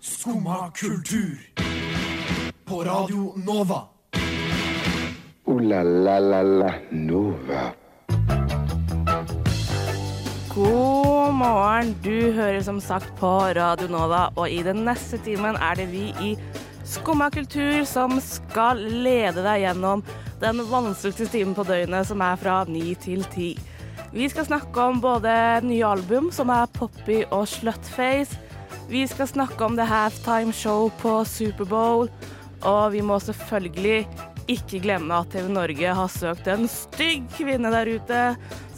Skumma kultur. På Radio Nova. Ooh la la la la Nova. God morgen. Du hører som sagt på Radio Nova, og i den neste timen er det vi i Skumma kultur som skal lede deg gjennom den vanskeligste timen på døgnet, som er fra ni til ti. Vi skal snakke om både nye album, som er Poppy og Slutface. Vi skal snakke om The Halftime Show på Superbowl. Og vi må selvfølgelig ikke glemme at TV Norge har søkt en stygg kvinne der ute,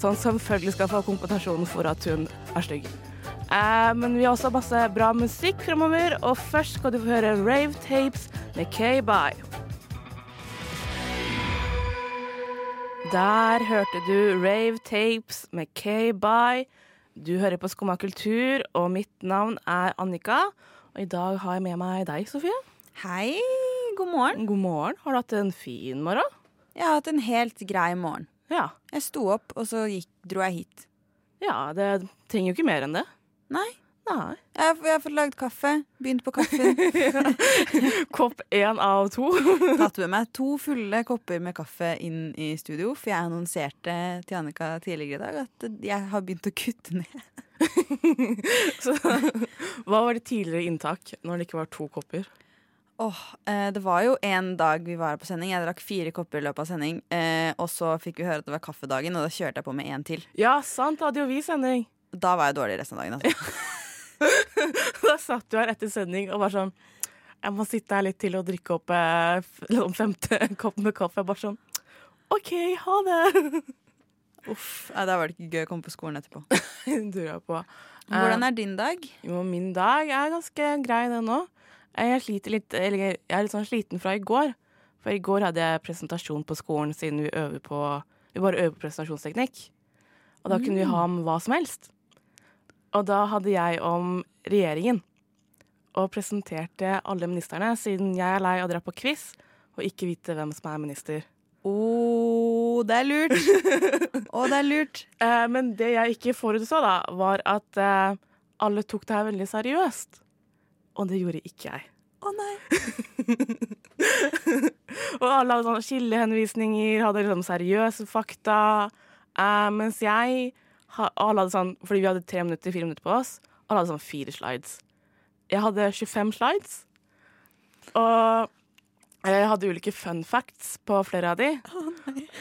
som selvfølgelig skal få kompensasjon for at hun er stygg. Eh, men vi har også masse bra musikk framover, og først skal du få høre Rave Tapes med K-Bye. Der hørte du Rave Tapes med K-Bye. Du hører på Skumma kultur, og mitt navn er Annika. Og i dag har jeg med meg deg, Sofie. Hei, god morgen. God morgen. Har du hatt en fin morgen? Jeg har hatt en helt grei morgen. Ja. Jeg sto opp, og så gikk, dro jeg hit. Ja, det trenger jo ikke mer enn det. Nei, Nei. jeg har, jeg har fått lagd kaffe. Begynt på kaffen. Kopp én av to. Tatt med meg to fulle kopper med kaffe inn i studio, for jeg annonserte til Annika tidligere i dag at jeg har begynt å kutte ned. Så, hva var det tidligere inntak når det ikke var to kopper? Åh, eh, Det var jo en dag vi var på sending. Jeg drakk fire kopper i løpet av sending. Eh, og så fikk vi høre at det var kaffedagen, og da kjørte jeg på med en til. Ja, sant, da hadde jo vi sending. Da var jeg dårlig resten av dagen. Altså. Da satt du her etter sending og var sånn Jeg må sitte her litt til og drikke opp eh, f- den femte koppen med kaffe. Jeg bare sånn OK, ha det. Uff, nei, Da var det ikke gøy å komme på skolen etterpå. Durer jeg på. Hvordan er din dag? Jo, min dag er ganske grei den nå. Jeg sliter litt, eller jeg er litt sånn sliten fra i går. For i går hadde jeg presentasjon på skolen siden vi øver på Vi bare øver på presentasjonsteknikk. Og da kunne vi ha om hva som helst. Og da hadde jeg om regjeringen. Og presenterte alle ministerne, siden jeg er lei av å dra på quiz og ikke vite hvem som er minister. Å, det er lurt. Å, det er lurt. Eh, men det jeg ikke forutså, da, var at eh, alle tok det her veldig seriøst. Og det gjorde ikke jeg. Å nei. Og alle hadde sånne skillehenvisninger, hadde liksom seriøse fakta. Eh, mens jeg ha- Alle hadde sånn Fordi vi hadde tre minutter, fire minutter på oss. Alle hadde sånn fire slides. Jeg hadde 25 slides. Og jeg hadde ulike fun facts på flere av de.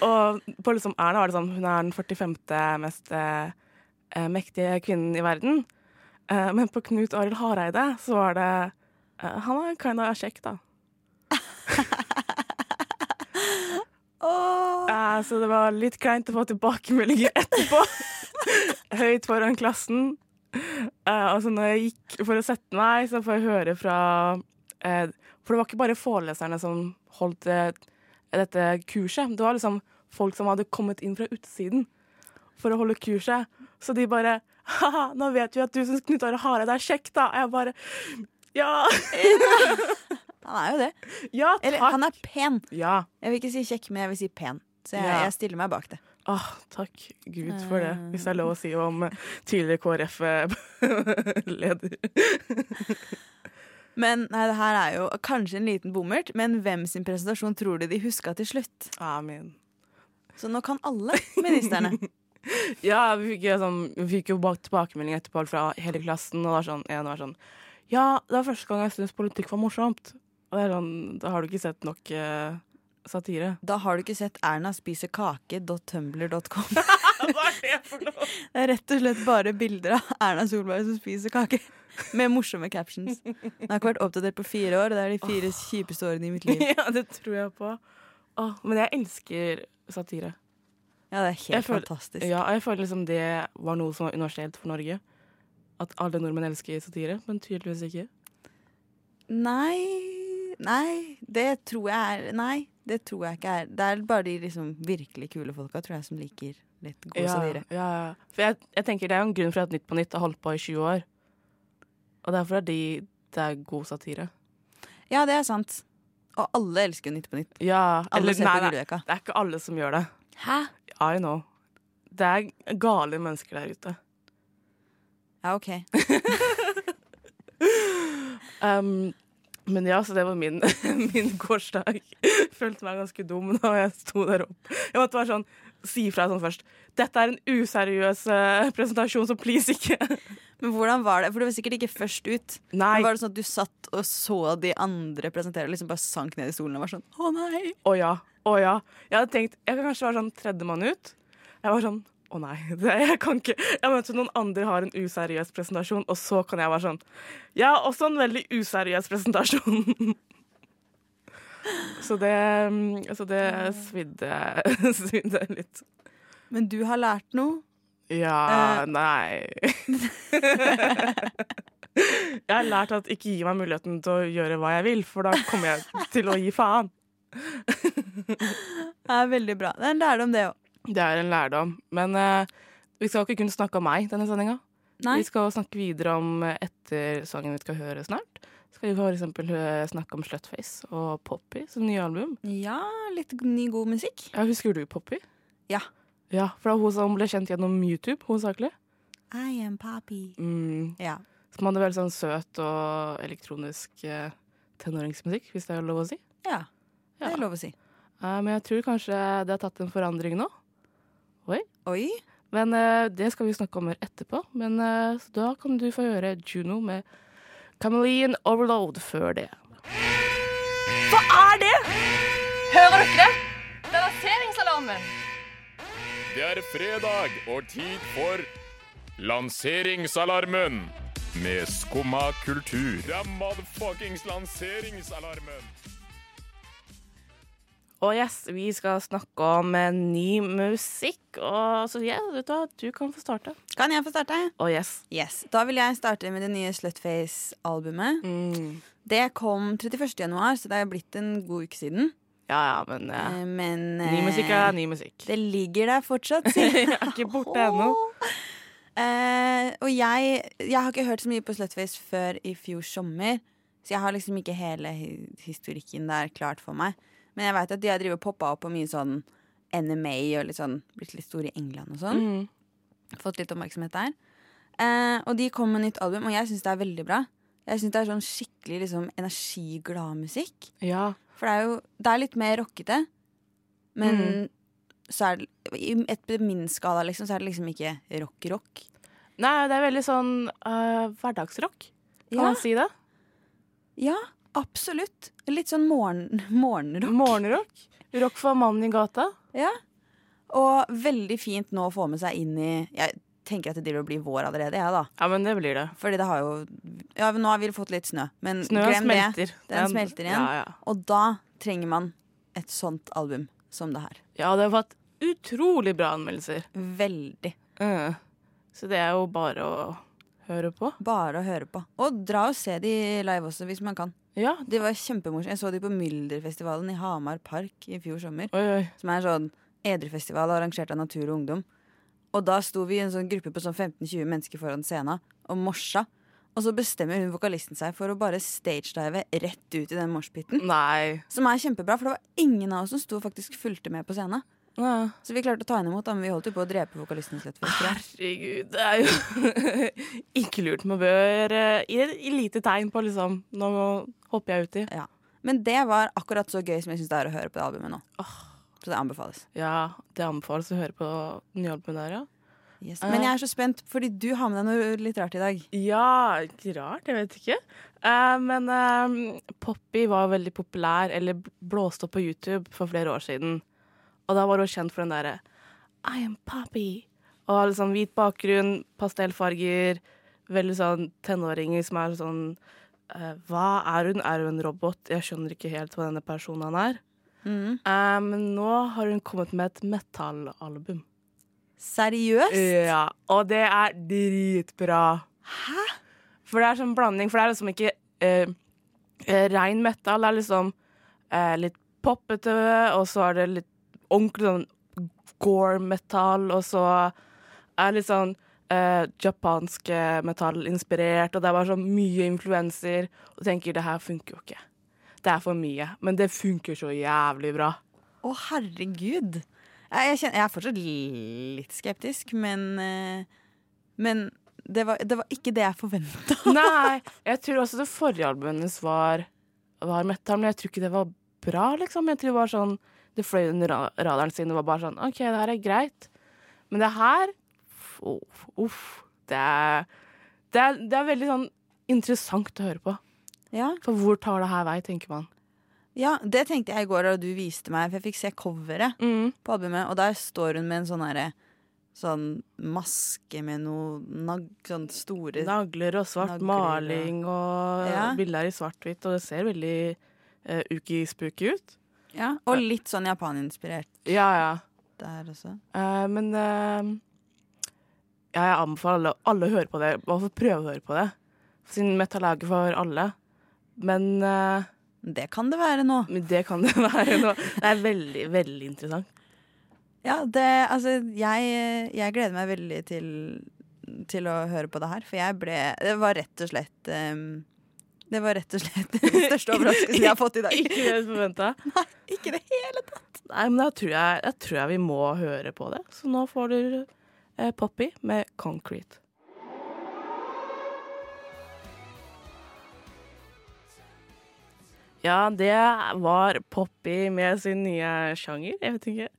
og på liksom Erna var det sånn Hun er den 45. mest eh, eh, mektige kvinnen i verden. Eh, men på Knut Arild Hareide så var det eh, Han er kinda kjekk, da. Å, Eh, Så det var litt kleint å få tilbakemeldinger etterpå. Høyt foran klassen. Eh, Og så når jeg gikk for å sette meg, så får jeg høre fra eh, For det var ikke bare foreleserne som holdt eh, dette kurset. Det var liksom folk som hadde kommet inn fra utsiden for å holde kurset. Så de bare Haha, nå vet vi at du syns Knut Are Hareide er kjekk, da. Og jeg bare Ja! han er jo det. Ja, takk. Eller han er pen. Ja. Jeg vil ikke si kjekk, men jeg vil si pen. Så jeg, Ja. jeg stiller meg bak det. Ah, takk Gud for det, hvis det er lov å si om eh, tidligere KrF-leder. Men nei, det her er jo kanskje en liten bommert, men hvem sin presentasjon tror du de huska til slutt? Amen. Så nå kan alle ministerne. Ja, vi fikk, jo sånn- vi fikk jo bak tilbakemelding etterpå fra hele klassen, og det var sånn, en var sånn Ja, det var første gang jeg syntes politikk var morsomt. Og det er sånn, da har du ikke sett nok eh, satire. Da har du ikke sett ernaspisekake.tumblr.com. Hva er det for noe? Det er rett og slett bare bilder av Erna Solberg som spiser kake. Med morsomme captions. Den har ikke vært oppdatert på fire år, og det er de fire kjipeste årene i mitt liv. Ja, det tror jeg på. Åh, men jeg elsker satire. Ja, det er Jeg helt føler- fantastisk. Ja, og jeg føler liksom det var noe som var universelt for Norge. At alle nordmenn elsker satire, men tydeligvis ikke. Nei Nei, det tror jeg er Nei, det tror jeg ikke er Det er bare de liksom virkelig kule folka, tror jeg, som liker litt god ja, satire. Ja, ja. For jeg, jeg tenker det er jo en grunn for at Nytt på Nytt har holdt på i 20 år. Og derfor er de, det er god satire. Ja, det er sant. Og alle elsker jo Nytt på Nytt. Ja, Alle eller ser nei, på det, Gullveka. det er ikke alle som gjør det. Hæ? I know. Det er gale mennesker der ute. Ja, OK. Um, men ja, så det var min, min gårsdag. Følte meg ganske dum da jeg sto der opp. Jeg måtte bare sånn si fra sånn først. Dette er en useriøs eh, presentasjon, så please ikke. Men hvordan var det? For du var sikkert ikke først ut. Nei. Men var det sånn at du satt og så de andre presentere og liksom bare sank ned i stolen og var sånn Å nei! Å ja. Å ja. Jeg hadde tenkt jeg kan kanskje være sånn tredjemann ut. Jeg var sånn å nei, det, jeg kan ikke Jeg mente noen andre har en useriøs presentasjon, og så kan jeg være sånn Jeg har også en veldig useriøs presentasjon. Så det, mm, så det svidde, svidde litt. Men du har lært noe. Ja Eh. Nei. jeg har lært at ikke gi meg muligheten til å gjøre hva jeg vil, for da kommer jeg til å gi faen. Det er veldig bra. Det er en lærdom, det òg. Det er en lærdom. Men eh, vi skal ikke kun snakke om meg denne sendinga. Vi skal snakke videre om eh, etter sangen vi skal høre snart. Skal vi for eksempel hø- snakke om Slutface og Poppy som nye album. Ja, litt ny, god musikk. Ja, husker du Poppy? Ja. Ja, For det var hun som ble kjent gjennom YouTube hovedsakelig. I am Poppy. Mm, Ja. som hadde veldig sånn søt og elektronisk eh, tenåringsmusikk, hvis det er lov å si. ja. Det Ja. er lov å si. Eh, men jeg tror kanskje det har tatt en forandring nå. Oi. Men eh, det skal vi snakke om mer etterpå. Men eh, så da kan du få høre Juno med Chameleon Overload før det. Hører dere det? Det er lanseringsalarmen. Det er fredag og tid for lanseringsalarmen med Skumma kultur. Det er motherfuckings lanseringsalarmen. Og yes, vi skal snakke om eh, ny musikk. Og så ja, vet du hva, du kan få starte. Kan jeg få starte? Og yes. Yes. Da vil jeg starte med det nye Slutface-albumet. Mm. Det kom 31. januar, så det er blitt en god uke siden. Ja ja, men eh, Eh, Men ny eh, musikk er ny musikk. Det ligger der fortsatt, sier Jeg er ikke borte ennå. Eh, og jeg, jeg har ikke hørt så mye på Slutface før i fjor sommer, så jeg har liksom ikke hele hi- historikken der klart for meg. Men jeg veit at de har drevet og poppa opp på mye sånn NMA og litt sånn, blitt litt store i England og sånn. Mm. Fått litt oppmerksomhet der. Eh, og de kom med nytt album, og jeg syns det er veldig bra. Jeg syns det er sånn skikkelig liksom, energiglad musikk. Ja. For det er jo det er litt mer rockete, men så er det, i etter min skala liksom, så er det liksom ikke rock-rock. Nei, det er veldig sånn eh, hverdagsrock. Kan man si det? Ja, absolutt. Litt sånn morgen, morgenrock. Morgenrock. Rock for mannen i gata. Ja. Og veldig fint nå å få med seg inn i Jeg tenker at det driver og blir vår allerede, jeg, da. Ja, men det blir det. Fordi det har jo Ja, nå har vi fått litt snø, men Snøen glem det. smelter. Den smelter igjen. Ja, ja. Og da trenger man et sånt album som det her. ja, det har fått utrolig bra anmeldelser. Veldig. Mm. Så det er jo bare å høre på. Bare å høre på. Og dra og se de live også, hvis man kan. Ja. De var kjempemorsomme. Jeg så de på Mylderfestivalen i Hamar Park i fjor sommer. Oi, oi. Som er en sånn edrufestival arrangert av Natur og Ungdom. Og da sto vi i en sånn gruppe på sånn 15-20 mennesker foran scenen og morsa. Og så bestemmer hun vokalisten seg for å bare stagedive rett ut i den moshpiten. Nei. Som er kjempebra, for det var ingen av oss som sto og faktisk fulgte med på scenen. Ja. Så vi klarte å ta henne imot, da, men vi holdt jo på å drepe vokalisten til slutt. Herregud, det er jo ikke lurt. Man bør eh, gi et lite tegn på liksom Nå hopper jeg uti. Ja. Men det var akkurat så gøy som jeg syns det er å høre på det albumet nå. Så det anbefales. Ja, det anbefales å høre på nye albumet der, ja. Yes. Men jeg er så spent, fordi du har med deg noe litt rart i dag. Ja, ikke rart, jeg vet ikke. Eh, men eh, Poppy var veldig populær, eller bl- blåste opp på YouTube for flere år siden. Og da var hun kjent for den derre I am Poppy. Og har liksom hvit bakgrunn, pastellfarger, veldig sånn tenåringer som er sånn eh, Hva er hun? Er hun en robot? Jeg skjønner ikke helt hva denne personen er. Eh, men nå har hun kommet med et metallalbum. Seriøst? Ja, og det er dritbra. Hæ? For det er sånn blanding, for det er liksom ikke eh, eh, rein metal. Det er liksom eh, litt poppete, og så er det litt ordentlig sånn gore-metal, og så er det litt sånn eh, japansk eh, metal-inspirert, og det er bare så mye influenser. Og tenker det her funker jo ikke. Det er for mye. Men det funker så jævlig bra. Å, herregud. Jeg, jeg, kjenner, jeg er fortsatt litt skeptisk, men eh, Men det, var, det var ikke det jeg forventa. Nei, jeg tror også det forrige albumet hennes var, var metal, men jeg tror ikke det var bra, liksom. Jeg tror det var sånn Det fløy under ra- radaren sin. Det var bare sånn OK, det her er greit. Men det her f- Uff. uff det, er, det, er, det er veldig sånn interessant å høre på. Ja. For hvor tar det her vei, tenker man. ja, det tenkte jeg i går da du viste meg, for jeg fikk se coveret Mm. på albumet, og der står hun med en sånn herre Sånn maske med noe nag, sånn store Nagler og svart Nagler, maling og Ja. bilder i svart-hvitt, og det ser veldig uh, uki-spooky ut. ja, Og litt sånn japaninspirert Ja, ja. der også. Eh, men eh, ja, jeg anbefaler alle, alle å høre på det. Bare for å prøve å høre på det. Siden metal er ikke for alle. Men eh, Det kan det være nå. men det kan det være nå. Det er veldig, veldig interessant. Ja, det, altså, jeg, jeg gleder meg veldig til, til å høre på det her, for jeg ble Det var rett og slett ehm, Det var rett og slett den største overraskelsen jeg har fått i dag. Ikke det jeg forventa. Nei, ikke det hele tatt. Nei, men da tror jeg, jeg tror jeg vi må høre på det. Så nå får du eh, Poppy med Concrete. Ja, det var Poppy med sin nye sjanger, jeg vet ikke.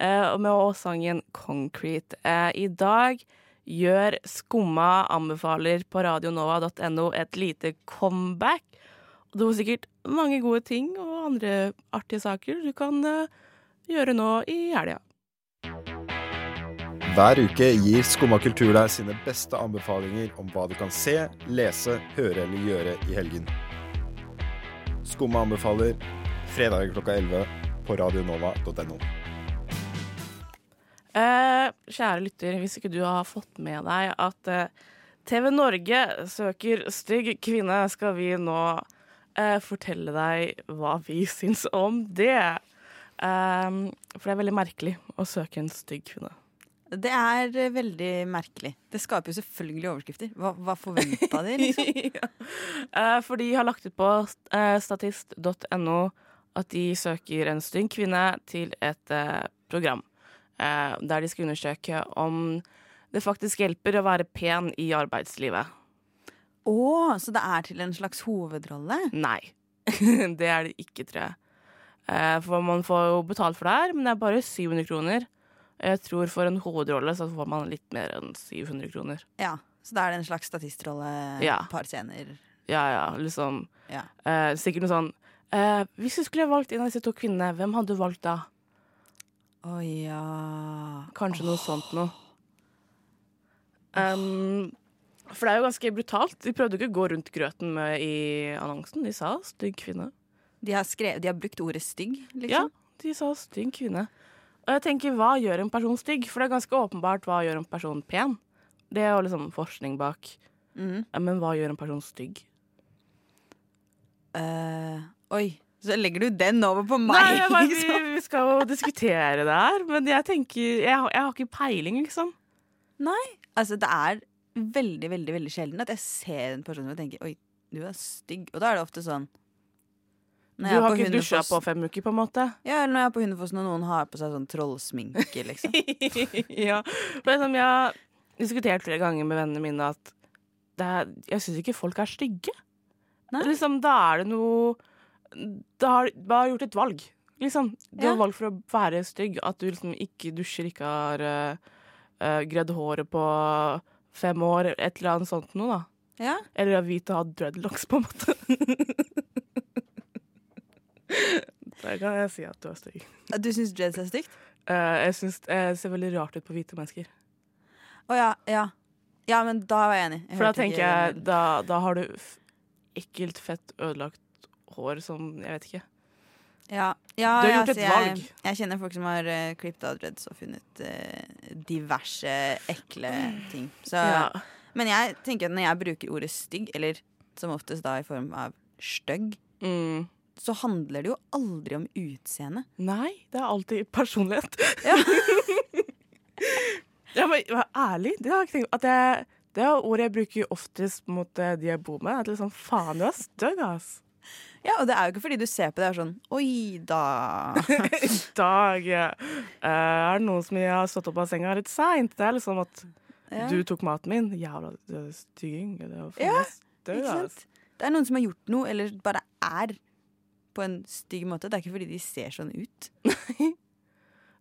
Eh, og med også sangen Concrete. Eh, I dag gjør Skumma anbefaler på radionova.no et lite comeback. Og Det var sikkert mange gode ting og andre artige saker du kan eh, gjøre nå i helga. Hver uke gir Skumma kultur deg sine beste anbefalinger om hva du kan se, lese, høre eller gjøre i helgen. Skumma anbefaler fredager klokka 11 på radionova.no. Eh, kjære lytter, hvis ikke du har fått med deg at eh, TV Norge søker stygg kvinne, skal vi nå eh, fortelle deg hva vi syns om det. Eh, for det er veldig merkelig å søke en stygg kvinne. Det er eh, veldig merkelig. Det skaper jo selvfølgelig overskrifter. Hva, hva forventa de, liksom? Eh, For de har lagt ut på eh, statist.no at de søker en stygg kvinne til et eh, program eh, der de skal undersøke om det faktisk hjelper å være pen i arbeidslivet. Å, så det er til en slags hovedrolle? Nei, det er det ikke, tror jeg. Eh, For man får jo betalt for det her, men det er bare 700 kroner. Jeg tror for en hovedrolle så får man litt mer enn 700 kroner. Ja. Så da er det en slags statistrolle, Ja. par scener. Ja, ja, liksom. Ja. Eh, sikkert noe sånn eh, Hvis du skulle valgt en av disse to kvinnene, hvem hadde du valgt da? Å ja. Kanskje noe sånt noe. Um, for det er jo ganske brutalt. De prøvde jo ikke å gå rundt grøten med i annonsen. De sa 'stygg kvinne'. De har, skrevet, de har brukt ordet stygg, Ja, liksom? de sa 'stygg kvinne'. Og jeg tenker, hva gjør en person stygg? For det er ganske åpenbart hva gjør en person pen. Det er jo liksom forskning bak. Mhm. Ja, Men hva gjør en person stygg? Eh, oi, så legger du den over på meg! Nei, jeg bare, liksom. vi, vi skal jo diskutere det her, men jeg tenker Jeg, har- jeg har ikke peiling, liksom. Altså, det er veldig, veldig veldig sjelden at jeg ser en person og tenker Oi, du er stygg. Og da er det ofte sånn Du når jeg er har ikke dusja Hundefoss- på fem uker, på en måte. Ja, eller når jeg er på Hundefossen og noen har på seg sånn trollsminke, liksom. ja. For liksom, jeg har diskutert flere ganger med vennene mine at det er, jeg syns ikke folk er stygge. Nei. Liksom, da er det noe Da har du har gjort et valg. Liksom. Du Ja. har valgt for å være stygg. At du liksom ikke dusjer, ikke har uh, gredd håret på fem år, et eller annet sånt noe, da. Ja, Eller er hvit og har dreadlocks, på en måte. Der kan jeg si at du er stygg. Du syns dreads er stygt? Eh, jeg syns det ser veldig rart ut på hvite mennesker. Å ja, ja. Ja, men da var jeg enig. Jeg For da hørte ikke- tenker jeg, da, da har du f- ekkelt, fett, ødelagt hår som Jeg vet ikke. ja. Ja, Du har ja, gjort et så jeg, valg. Jeg kjenner folk som har uh, klippet av dreads og funnet eh, diverse ekle ting. Så Ja. Men jeg tenker at når jeg bruker ordet stygg, eller som oftest da i form av stygg, Mm. så handler det jo aldri om utseende. Nei, det er alltid personlighet. Ja. jeg må være ærlig. Det har jeg ikke tenkt at jeg, Det er ordet jeg bruker oftest mot eh, de jeg bor med. At liksom, faen, du er stygg, ass. Ja, Og det er jo ikke fordi du ser på det og er sånn Oi da. I dag eh, er det noen som har stått opp av senga litt seint. Det er liksom at Ja. Du tok maten min. Jævla øh, stygging. Det var faen Ja, meg støy, Ikke da. sant? Det er noen som har gjort noe, eller bare er, på en stygg måte. Det er ikke fordi de ser sånn ut.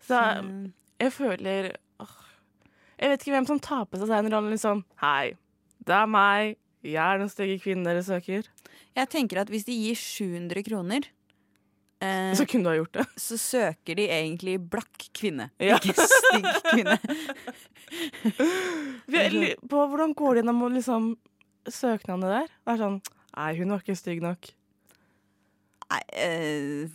Så Mm. jeg føler åh, Jeg vet ikke hvem som tar på seg den rollen liksom Hei, det er meg. Jeg er den stygge kvinnen dere søker. Jeg tenker at hvis de gir 700 kroner, eh, Så kunne du ha gjort det. så søker de egentlig blakk kvinne. Ja. Ikke stygg kvinne. Vi er li- På hvordan går det gjennom liksom, søknadene der? Det er sånn Nei, hun var ikke stygg nok. Nei, eh,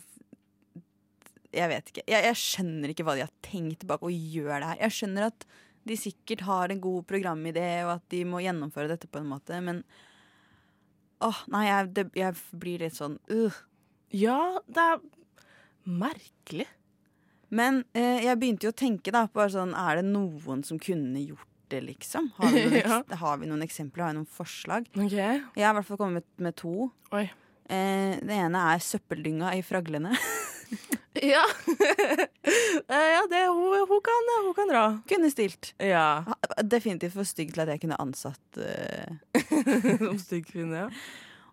jeg vet ikke. Jeg, jeg skjønner ikke hva de har tenkt bak å gjøre det her. Jeg skjønner at de sikkert har en god programidé, og at de må gjennomføre dette på en måte, men Åh, nei, jeg, det, jeg blir litt sånn uh. Ja, det er merkelig. Men eh, jeg begynte jo å tenke da på sånn, er det noen som kunne gjort det, liksom? Har vi noen, Ja. eks har vi noen eksempler? Har vi noen forslag? OK. Jeg har i hvert fall kommet med, med to. Oi. Eh, det ene er søppeldynga i fraglene. Ja. Eh, ja, det hun, hun, kan, hun kan dra. kunne stilt. Ja. Ha- Definitivt for stygg til at jeg kunne ansatt eh. Som stygg kvinne, ja.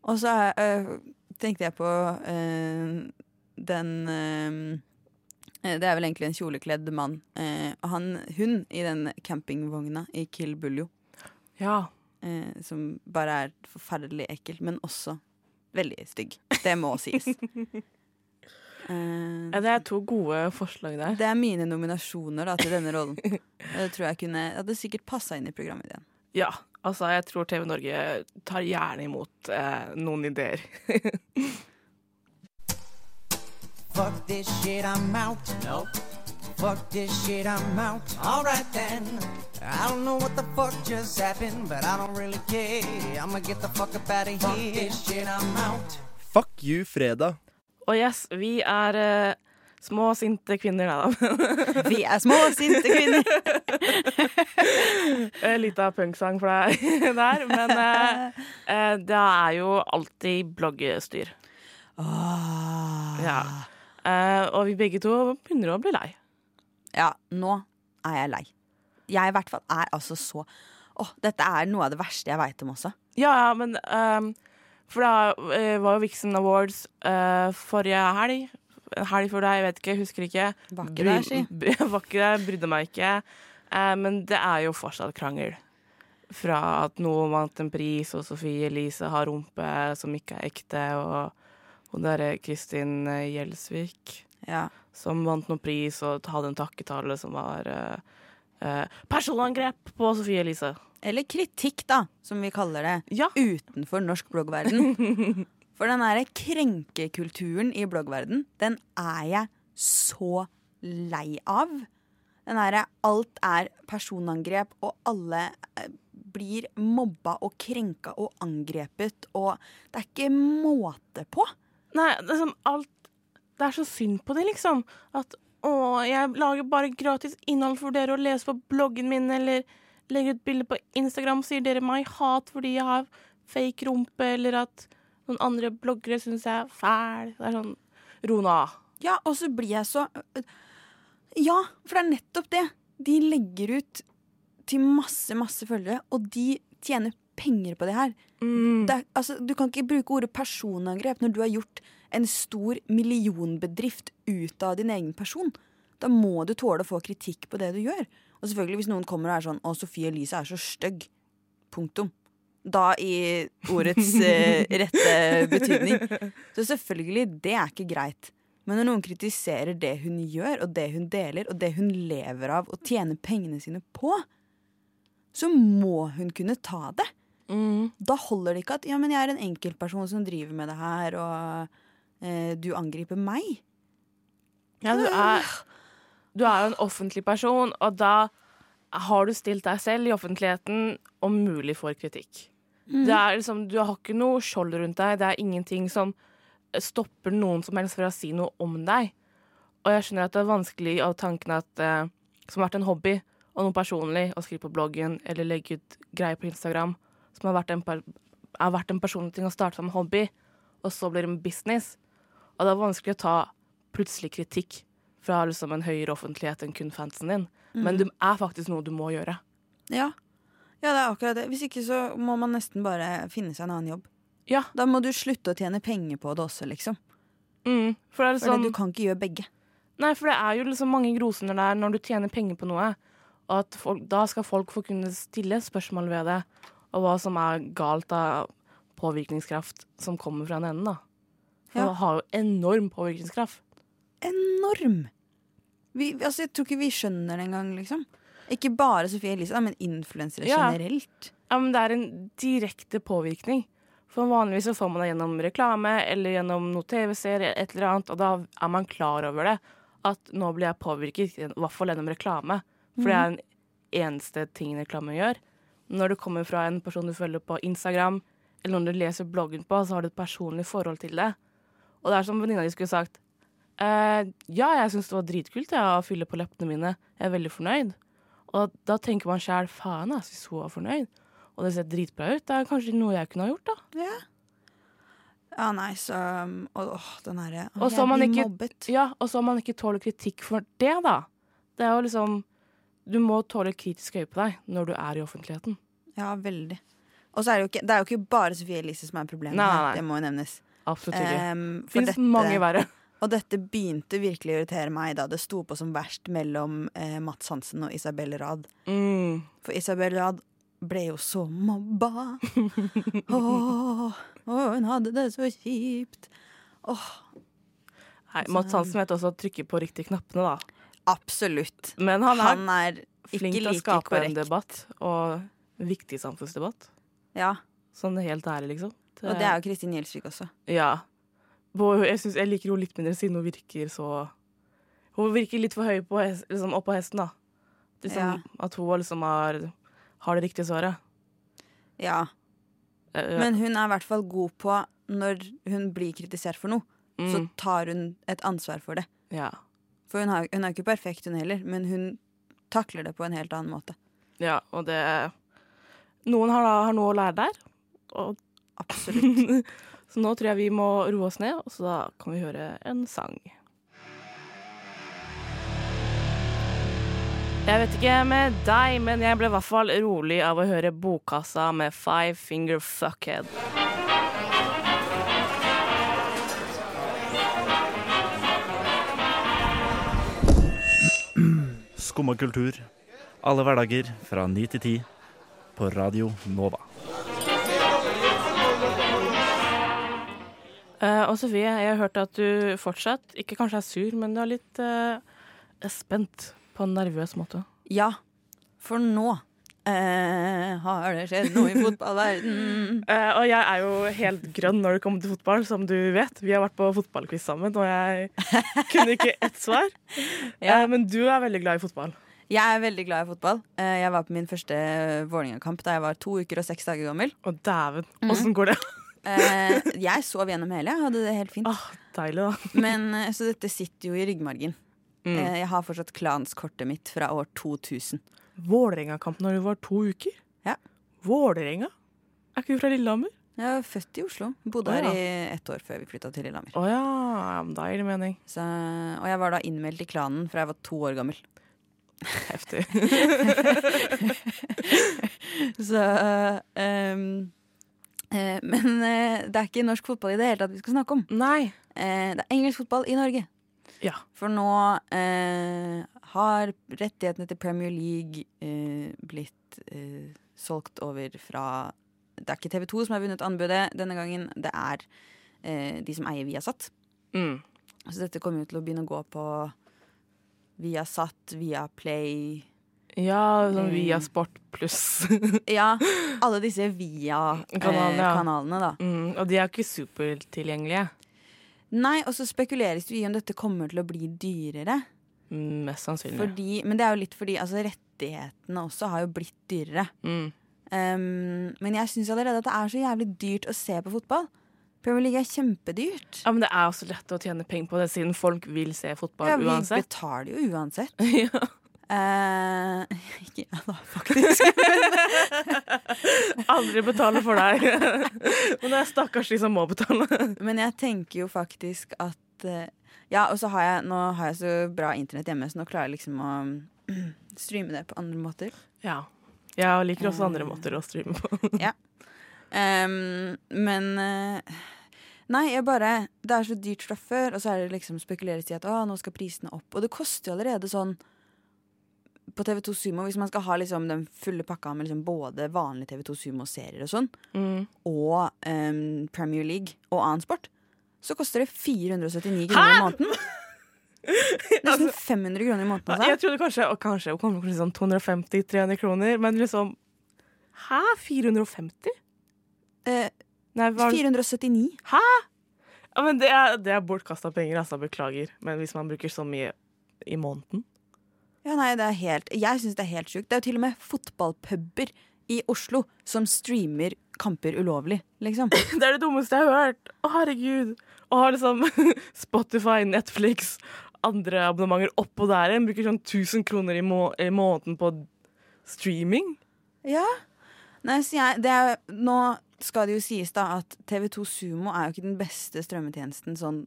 Og så eh, tenkte jeg på eh, den eh, Det er vel egentlig en kjolekledd mann. eh, og han, hun i den campingvogna i Kill Buljo. Ja. eh, som bare er forferdelig ekkel, men også veldig stygg. Det må sies. Eh, ja. Det er to gode forslag der. det er mine nominasjoner da, til denne rollen. Og Det tror jeg kunne, det hadde sikkert passa inn i programideen. Ja, altså jeg tror TV Norge tar gjerne imot eh, noen ideer. Fuck this shit, I'm out. Nope. Fuck this shit, I'm out. Alright then. I don't know what the fuck just happened, but I don't really care. I'ma get the fuck up out of here. Fuck this shit, I'm out. Fuck you, fredag. Og yes, vi er eh, små, sinte kvinner, nei da. Vi er små, sinte kvinner! En liten eh, punksang for deg der. Men eh, eh, det er jo alltid bloggstyr. Ah. Ja. Eh, og vi begge to begynner å bli lei. Ja, nå er jeg lei. Jeg i hvert fall er altså så Åh, dette er noe av det verste jeg veit om også. Ja, ja, men ehm, For det eh, var jo Vixen Awards eh, forrige helg. En helg før deg, jeg vet ikke, jeg husker ikke. Var ikke Bry- der, si. bry- Var ikke der, brydde meg ikke. Eh, men det er jo fortsatt krangel. Fra at noen vant en pris, og Sofie Elise har rumpe som ikke er ekte, og hun derre Kristin eh, Gjelsvik Ja. som vant noen pris og hadde en takketale som var eh, eh, Personangrep på Sofie Elise. Eller kritikk, da, som vi kaller det. Ja. utenfor norsk bloggverden. For den der krenkekulturen i bloggverden, den er jeg så lei av. Den derre alt er personangrep, og alle eh, blir mobba og krenka og angrepet, og det er ikke måte på. Nei, det er sånn alt Det er så synd på det, liksom. At å, jeg lager bare gratis innhold for dere å lese på bloggen min, eller legger ut bilder på Instagram, sier dere meg hat fordi jeg har fake rumpe, eller at noen andre bloggere syns jeg er fæl. Det er sånn Rona. Ja, og så blir jeg så øh, Ja, for det er nettopp det. De legger ut til masse, masse følgere, og de tjener penger på det her. Det er, altså, du kan ikke bruke ordet personangrep når du har gjort en stor millionbedrift ut av din egen person. Da må du tåle å få kritikk på det du gjør. Og selvfølgelig hvis noen kommer og er sånn 'Å, Sofie Elise er så stygg'. Punktum. Da i ordets eh, rette betydning. Så selvfølgelig, det er ikke greit. Men når noen kritiserer det hun gjør, og det hun deler, og det hun lever av og tjener pengene sine på, så må hun kunne ta det. Da holder det ikke at ja, men 'jeg er en enkeltperson som driver med det her', og eh, 'du angriper meg'. Ja, du er, du er jo en offentlig person, og da har du stilt deg selv i offentligheten om mulig for kritikk. Det er liksom, du har ikke noe skjold rundt deg, det er ingenting som stopper noen som helst fra å si noe om deg. Og jeg skjønner at det er vanskelig av tanken at eh, som har vært en hobby og noe personlig, å skrive på bloggen eller legge ut greier på Instagram, som har vært en, per, har vært en personlig ting å starte som hobby, og så blir det en business. Og det er vanskelig å ta plutselig kritikk fra liksom en høyere offentlighet enn kun fansen din. Men det er faktisk noe du må gjøre. Ja. Ja, det er akkurat det. Hvis ikke så må man nesten bare finne seg en annen jobb. Ja. Da må du slutte å tjene penger på det også, liksom. Mm, for det er For sånn, du kan ikke gjøre begge. Nei, for det er jo liksom mange grosunder der når du tjener penger på noe. Og at folk, da skal folk få kunne stille spørsmål ved det, og hva som er galt av påvirkningskraft som kommer fra en ende, da. For Ja. det har jo enorm påvirkningskraft. Enorm! Vi, altså, jeg tror ikke vi skjønner det engang, liksom. Ikke bare Sofie Elise, da, men influensere Ja. generelt. Ja, men det er en direkte påvirkning. For vanligvis så får man det gjennom reklame eller gjennom noe TV-serie, et eller annet, og da er man klar over det. At nå blir jeg påvirket, i hvert fall gjennom reklame. For det er den eneste tingen reklame gjør. Når det kommer fra en person du følger på Instagram, eller noen du leser bloggen på, så har du et personlig forhold til det. Og det er som venninna di skulle sagt. Eh, ja, jeg syns det var dritkult ja, å fylle på leppene mine. Jeg er veldig fornøyd. Og da tenker man sjæl faen, ass, hvis hun var fornøyd, og det ser dritbra ut, det er kanskje noe jeg kunne ha gjort, da. Ja. Ja, nei, så um, å, Åh, den herre Og så jeg man blir ikke- mobbet. Ja, Og så man ikke tåler kritikk for det, da. Det er jo liksom Du må tåle kritisk øye på deg når du er i offentligheten. Ja, veldig. Og så er det jo ikke, det er jo ikke bare Sofie Elise som er problemet. Nei, her, nei, nei. Det må jo nevnes. Absolutt ikke. Um, for Fins dette- mange verre. Og dette begynte virkelig å irritere meg da det sto på som verst mellom eh, Mats Hansen og Isabel Rad. Mm. For Isabel Rad ble jo så mobba. Åh, åh, hun hadde det så kjipt. Nei, Mads Hansen vet også å trykke på riktige knappene, da. Absolutt. Men han er Han er ikke flink til å like skape korrekt. en debatt, og viktig samfunnsdebatt. Ja, Sånn helt ærlig, liksom. Det- Og det er jo Kristin Gjelsvik også. Ja. Bo, jeg, synes, jeg liker henne litt mindre siden hun virker så Hun virker litt for høy på hest, liksom, oppå hesten, da. Liksom, Ja. At hun liksom har, har det riktige svaret. Ja. Eh, ja. Men hun er i hvert fall god på når hun blir kritisert for noe, så Mm, tar hun et ansvar for det. ja. For hun, har, hun er jo ikke perfekt, hun heller, men hun takler det på en helt annen måte. ja, og det Noen har, da, har noe å lære der. Og, Absolutt. så nå tror jeg vi må roe oss ned, og så da kan vi høre en sang. Jeg vet ikke med deg, men jeg ble i hvert fall rolig av å høre Bokkassa med Five Finger Fuckhead. Skumma kultur. Alle hverdager fra 9 til 10 på Radio Nova. Eh, og Sofie, jeg har hørt at du fortsatt ikke kanskje er sur, men du er litt eh, spent på en nervøs måte. Ja, for nå eh, har det skjedd noe i fotballverdenen. Eh, og jeg er jo helt grønn når det kommer til fotball, som du vet. Vi har vært på fotballquiz sammen, og jeg kunne ikke ett svar. Ja. Eh, men du er veldig glad i fotball. Jeg er veldig glad i fotball. Eh, jeg var på min første Vålerenga-kamp da jeg var to uker og seks dager gammel. Å, dæven. Åssen går det? Eh, jeg sov gjennom hele, jeg hadde det helt fint. Ah, deilig, da. Men, eh, så dette sitter jo i ryggmargen. Mm. Eh, jeg har fortsatt klanskortet mitt fra år 2000. Vålerenga-kamp når du var to uker? Ja. Vålerenga? Er ikke du fra Lillehammer? Jeg var født i Oslo. Bodde Å, her ja. i ett år før vi flytta til Lillehammer. Å ja. ja, men Da gir det mening. Så, og jeg var da innmeldt i klanen fra jeg var to år gammel. Heftig. Så, ehm, eh, men eh, det er ikke norsk fotball i det hele tatt vi skal snakke om. Nei. Eh, det er engelsk fotball i Norge. Ja. For nå eh, har rettighetene til Premier League eh, blitt eh, solgt over fra Det er ikke TV2 som har vunnet anbudet denne gangen, det er eh, de som eier Viasat. Mm. Så Altså, dette kommer jo til å begynne å gå på Viasat, Viaplay Ja, sånn Mm. via Sport pluss. Ja, alle disse Via-kanalene, Kanalene, ja. da. mm, og de er ikke supertilgjengelige. Nei, og så spekuleres det jo i om dette kommer til å bli dyrere. Mm, Mest sannsynlig. Fordi, men det er jo litt fordi altså, rettighetene også har jo blitt dyrere. Mm. Um, men jeg syns allerede at det er så jævlig dyrt å se på fotball. Premier League er kjempedyrt. Ja, men det er også lett å tjene penger på det, siden folk vil se fotball Ja, vi uansett. betaler jo uansett. Ja. Eh, ikke ja da, faktisk. Aldri betale for deg. men det er stakkars de som må betale. Men jeg tenker jo faktisk at eh, Ja, og så har jeg Nå har jeg så bra internett hjemme, så nå klarer jeg liksom å streame det på andre måter. Ja. Eh. Ja, og liker også andre måter å streame på. Ehm, men eh, Nei, jeg bare Det er så dyrt fra før, og så er det liksom spekuleres i at å, nå skal prisene opp. Og det koster jo allerede sånn på TV2 Sumo, hvis man skal ha liksom den fulle pakka med liksom både vanlige TV2 Sumo-serier og sånn, Mm. og ehm, Premier League og annen sport, så koster det 479 kroner i måneden. Nesten 500 kroner i måneden. Altså, Jeg Altså. trodde kanskje og kanskje, det kommer kanskje sånn 250-300 kroner, men liksom Hæ? 450? Eh, Nei, hva er det- 479. ja, men det er, det er bortkasta penger, altså. Beklager. Men hvis man bruker så mye i måneden Ja, nei, det er helt, jeg syns det er helt sjukt. Det er jo til og med fotballpuber i Oslo som streamer kamper ulovlig, liksom. Det er det dummeste jeg har hørt! Å, herregud. Å ha liksom Spotify, Netflix, andre abonnementer oppå der igjen. Bruker sånn 1000 kroner i, må i måneden på streaming. Ja. Nei, så jeg, det er, nå skal det jo sies da at TV2 Sumo er jo ikke den beste strømmetjenesten sånn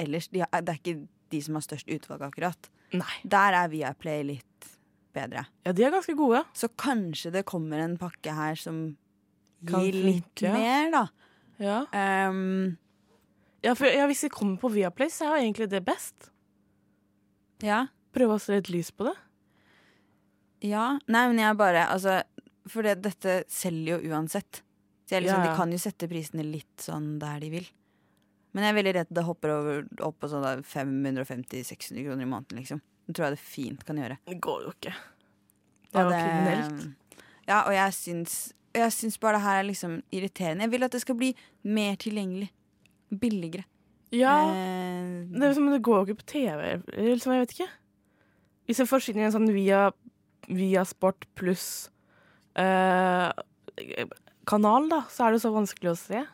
ellers. De er, det er ikke de som har størst utvalg, akkurat. Nei. Der er Viaplay litt bedre. Ja, de er ganske gode. Så kanskje det kommer en pakke her som Kan gir litt funke. mer, da. Ja. Ehm, Ja, for, ja, hvis vi kommer på Viaplay, så er jo egentlig det best. ja. Prøve å se litt lys på det. Ja, nei, men jeg bare altså, For det, dette selger jo uansett. Så jeg liksom, Ja, ja. De kan jo sette prisene litt sånn der de vil. Men jeg er veldig redd det hopper over, opp på sånn da 550-600 kroner i måneden. liksom Det tror jeg det fint kan gjøre. Det går jo ikke. Det var Og det- kriminelt. Ja, og jeg syns, jeg syns bare det her er liksom irriterende. Jeg vil at det skal bli mer tilgjengelig. Billigere. Ja, Eh, det, er liksom, det går jo ikke på TV. eller Liksom, jeg vet ikke. Hvis det forsvinner en sånn via, via Sport pluss eh, kanal, da, så er det jo så vanskelig å se.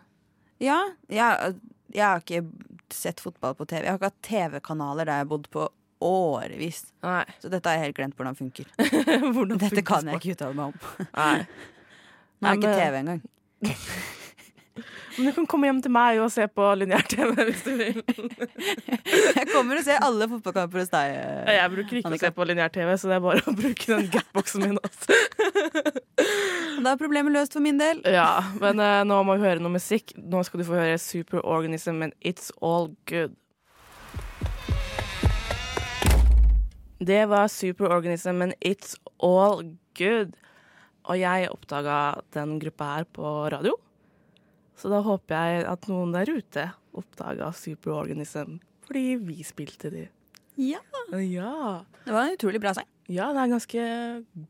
Ja, jeg, jeg har ikke sett fotball på TV. Jeg har ikke hatt TV-kanaler der jeg har bodd på årevis. Nei, Så dette har jeg helt glemt hvordan funker. hvordan Dette funker kan jeg sport? ikke uttale meg om. Nei. Nå har Nei, jeg ikke men- TV engang. Men du kan komme hjem til meg og se på lineær-TV hvis du vil. Jeg kommer og ser alle fotballkamper hos deg. Ja, Jeg bruker ikke å se på lineær-TV, så det er bare å bruke den gapboksen min. Altså. Da er problemet løst for min del. Ja, men eh, nå må vi høre noe musikk. Nå skal du få høre Superorganism med It's All Good. Det var Superorganism med It's All Good. Og jeg oppdaga den gruppa her på radio. Så da håper jeg at noen der ute oppdaga Superorganism fordi vi spilte de. Ja, Ja. Det var en utrolig bra sang. Ja, det er ganske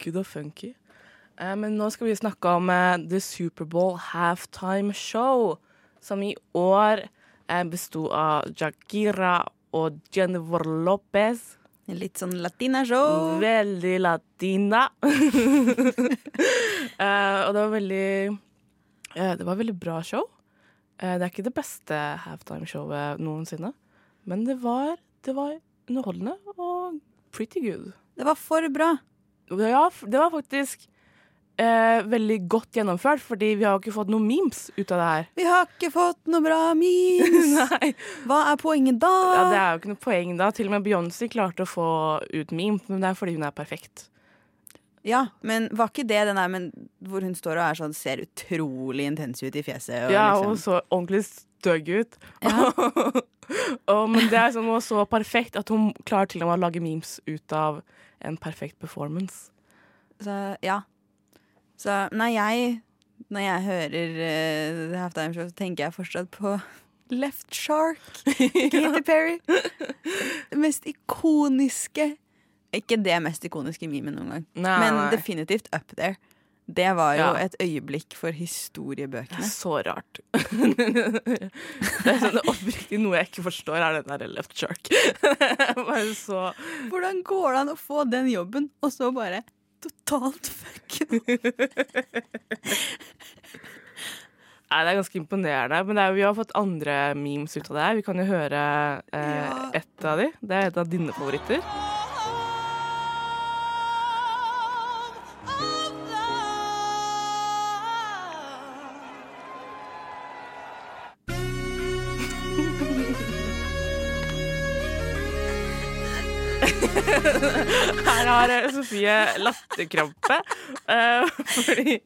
good og funky. Eh, men nå skal vi snakke om eh, The Superbowl Halftime Show, som i år eh, besto av Jagira og Jennifer Lopez. Litt sånn latinashow. Veldig latina. Eh, og det var veldig eh, Det var veldig bra show. Eh, det er ikke det beste halftime-showet noensinne, men det var, det var underholdende og pretty good. Det var for bra. Ja, f- det var faktisk eh, veldig godt gjennomført, fordi vi har jo ikke fått noen memes ut av det her. Vi har ikke fått noe bra memes. Nei. Hva er poenget da? Ja, det er jo ikke noe poeng da. Til og med Beyoncé klarte å få ut meme, men det er fordi hun er perfekt. Ja, men var ikke det den der men hvor hun står og er sånn, ser utrolig intens ut i fjeset? Og Ja, liksom. og så ordentlig stygg ut. og, men det er sånn, hun var så perfekt at hun klarer til og med å lage memes ut av en perfekt performance. Så ja. Så nei, jeg Når jeg hører eh, The Halftime Show, så tenker jeg fortsatt på Left Shark. Katy Perry. Det mest ikoniske Ikke det mest ikoniske memet noen gang, Nei, men nei. definitivt up there. Det var jo Ja. et øyeblikk for historiebøkene. Så rart. det er sånn oppriktig noe jeg ikke forstår, er den der left shark. Bare så... Hvordan går det an å få den jobben, og så bare totalt fuck? Nei, Det er ganske imponerende. Men det er, vi har fått andre memes ut av det her. Vi kan jo høre eh, Ja. ett av de. Det er et av dine favoritter. Her har eh, Sofie latterkrampe. eh, fordi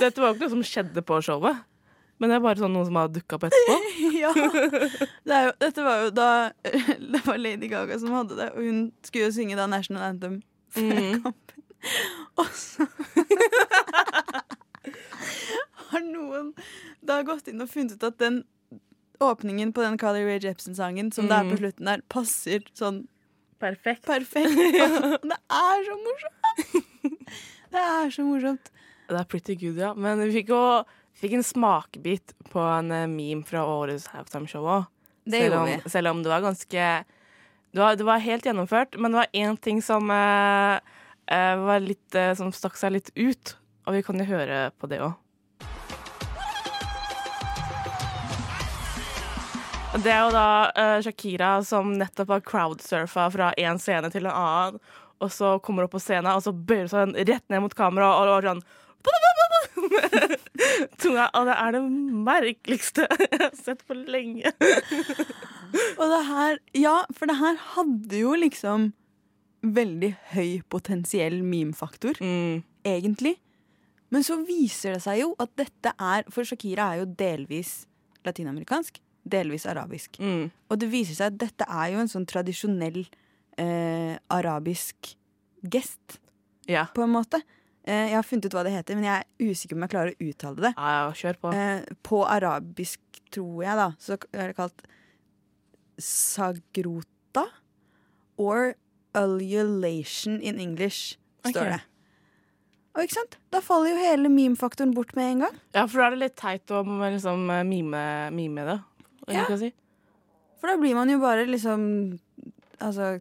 dette var jo ikke noe som skjedde på showet. Men det er bare sånn noen som har dukka opp etterpå. ja. Det er jo, dette var jo da Det var Lady Gaga som hadde det, og hun skulle jo synge da National Anthem før Mm. kampen. Og så har noen da gått inn og funnet ut at den åpningen på den Carly Rae Jepsen-sangen som det er Mm. på slutten der, passer sånn Perfekt. perfekt. Og det er så morsomt! Det er så morsomt. Det er pretty good, ja. Men vi fikk jo fikk en smakebit på en eh, meme fra årets halftime-show òg. Det selv, gjorde vi. om- selv om det var ganske det var, det var helt gjennomført, men det var én ting som, eh, eh, var litt, eh, som stakk seg litt ut. Og vi kan jo høre på det òg. Det er jo da eh, Shakira som nettopp har crowdsurfa fra én scene til en annen. Og så kommer hun opp på scenen og så bøyer hun seg rett ned mot kamera og, og sånn Tunga, og det er det merkeligste jeg har sett på lenge. Og det her, ja, for det her hadde jo liksom veldig høy potensiell memefaktor, egentlig. Men så viser det seg jo at dette er For Shakira er jo delvis latinamerikansk, delvis arabisk. Mm. Og det viser seg at dette er jo en sånn tradisjonell eh, arabisk gest, Ja. på en måte. Eh, jeg har funnet ut hva det heter, men jeg er usikker om jeg klarer å uttale det. Ja, ja, kjør på. Eh, på arabisk, tror jeg, da, så er det kalt sagrota or ululation in English, står Ok. det. Og ikke sant? Da faller jo hele meme-faktoren bort med en gang. Ja, for da er det litt teit å liksom, mime, mime det. om Ja. du kan Si. For da blir man jo bare liksom Altså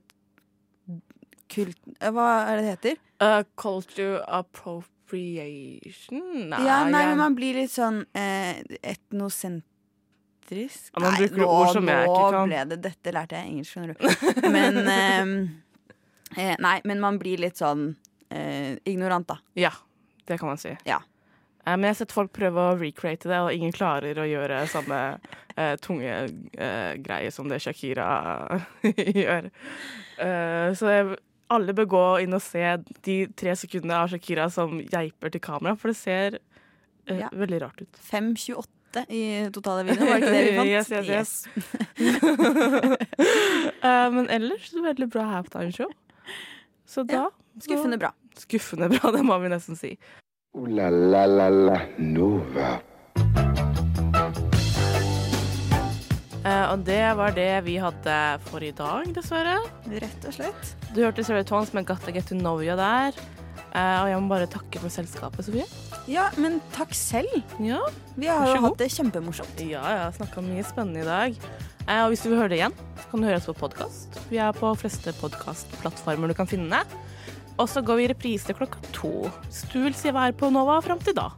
kult... Hva er det det heter? Uh, culture appropriation? Nei, ja, nei, jeg- men man blir litt sånn eh, etnosentrisk. Ja, man bruker nå, ord som jeg ikke nå kan. ble det Dette lærte jeg engelsk, skjønner du. Men eh, eh, Nei, men man blir litt sånn eh, ignorant, da. Ja, det kan man si. Ja. Eh, men jeg har sett folk prøve å recreate det, og ingen klarer å gjøre samme eh, tunge eh, greie som det Shakira gjør. Eh, så jeg, alle bør gå inn og se de tre sekundene av Shakira som geiper til kamera, for det ser eh, Ja. veldig rart ut. 5.28 i totale videoen, var det ikke det vi fant? Yes, yes, yes. Yes. Eh, men ellers veldig bra halftime-show. Så da Skuffende bra. Skuffende bra, det må vi nesten si. Ooh la la la la Nova. Eh, og det var det vi hadde for i dag, dessverre. Rett og slett. Du hørte Sarah Tons med Gotta Get To Know You der. Eh, og jeg må bare takke for selskapet, Sofie. Ja, men takk selv. Ja, Vi har Vær så jo god. hatt det kjempemorsomt. ja, jeg har snakka mye spennende i dag. Eh, og hvis du vil høre det igjen, så kan du høre oss på podkast. Vi er på fleste podkastplattformer du kan finne. Og så går vi i reprise klokka to. Hvis du vil se hva er på Nova fram til da.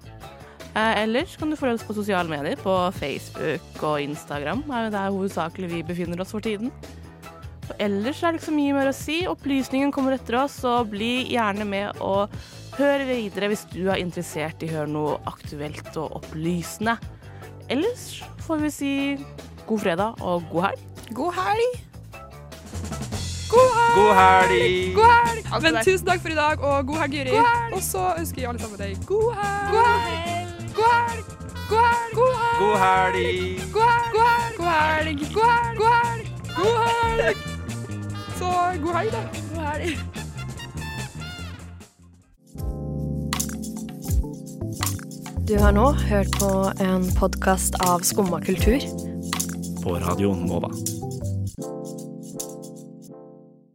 Eh, ellers kan du følge oss på sosiale medier, på Facebook og Instagram. Det er jo der hovedsakelig vi befinner oss for tiden. Og ellers er det ikke så mye mer å si. Opplysningen kommer etter oss, så bli gjerne med og hør videre hvis du er interessert i å høre noe aktuelt og opplysende. Ellers får vi si god fredag og god helg. God helg! God helg! Men tusen takk for i dag, og god helg, Juri. Og så ønsker vi alle sammen deg god helg. God helg. God helg. God helg. God helg. God helg! God helg. God helg. God helg. God helg. God helg. Så god helg, da. God helg. Du har nå hørt på en podkast av Skumma kultur. På radioen Nova.